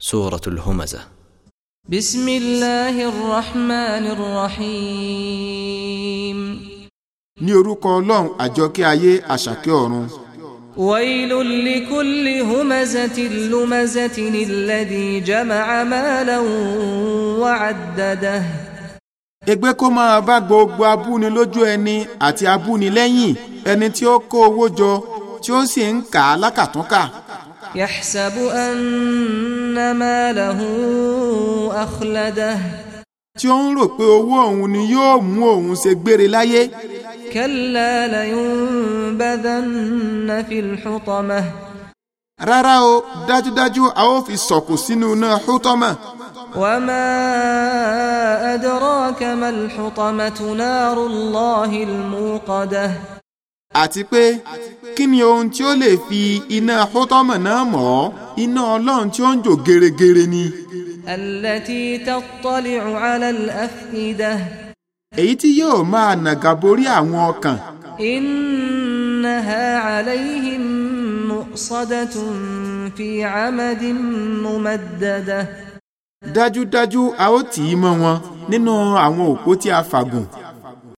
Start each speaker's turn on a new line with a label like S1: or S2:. S1: سورة الهمزة
S2: بسم الله الرحمن الرحيم
S3: ní orúkọ ọlọ́run àjọkẹ́ ayé àṣàkẹ́ ọ̀run
S2: ويل لكل همزة لمزة الذي جمع مالا وعدده
S3: ègbé kó máa bá gbogbo abúni lójú ẹni àti abúni lẹ́yìn ẹni tí ó kó owó jọ tí ó sì ń kà á lákàtúnkà
S2: يحسب أن ماله أخلده
S3: tí ó ń rò pé owó òun ni yóò mú òun ṣe gbére láyé
S2: كلا لينبذن في الحطمة
S3: rárá o dájúdájú a ó fi sọ̀kò sínú iná hútọ́mọ̀
S2: وما أدراك ما الحطمة نار الله الموقدة
S3: àti pé kí ni ohun tí ó lè fi iná hútọ́mọ̀ náà mọ̀ ọ́ iná ọlọ́run tí ó ń jò geregere ni
S2: التي تطلع على الأفئدة
S3: èyí tí yóò máa nàgà borí àwọn ọkàn
S2: إنها عليهم مؤصدة في عمد ممدده
S3: dájúdájú a ó tì í mọ́ wọn nínú àwọn òpó tí a fàgùn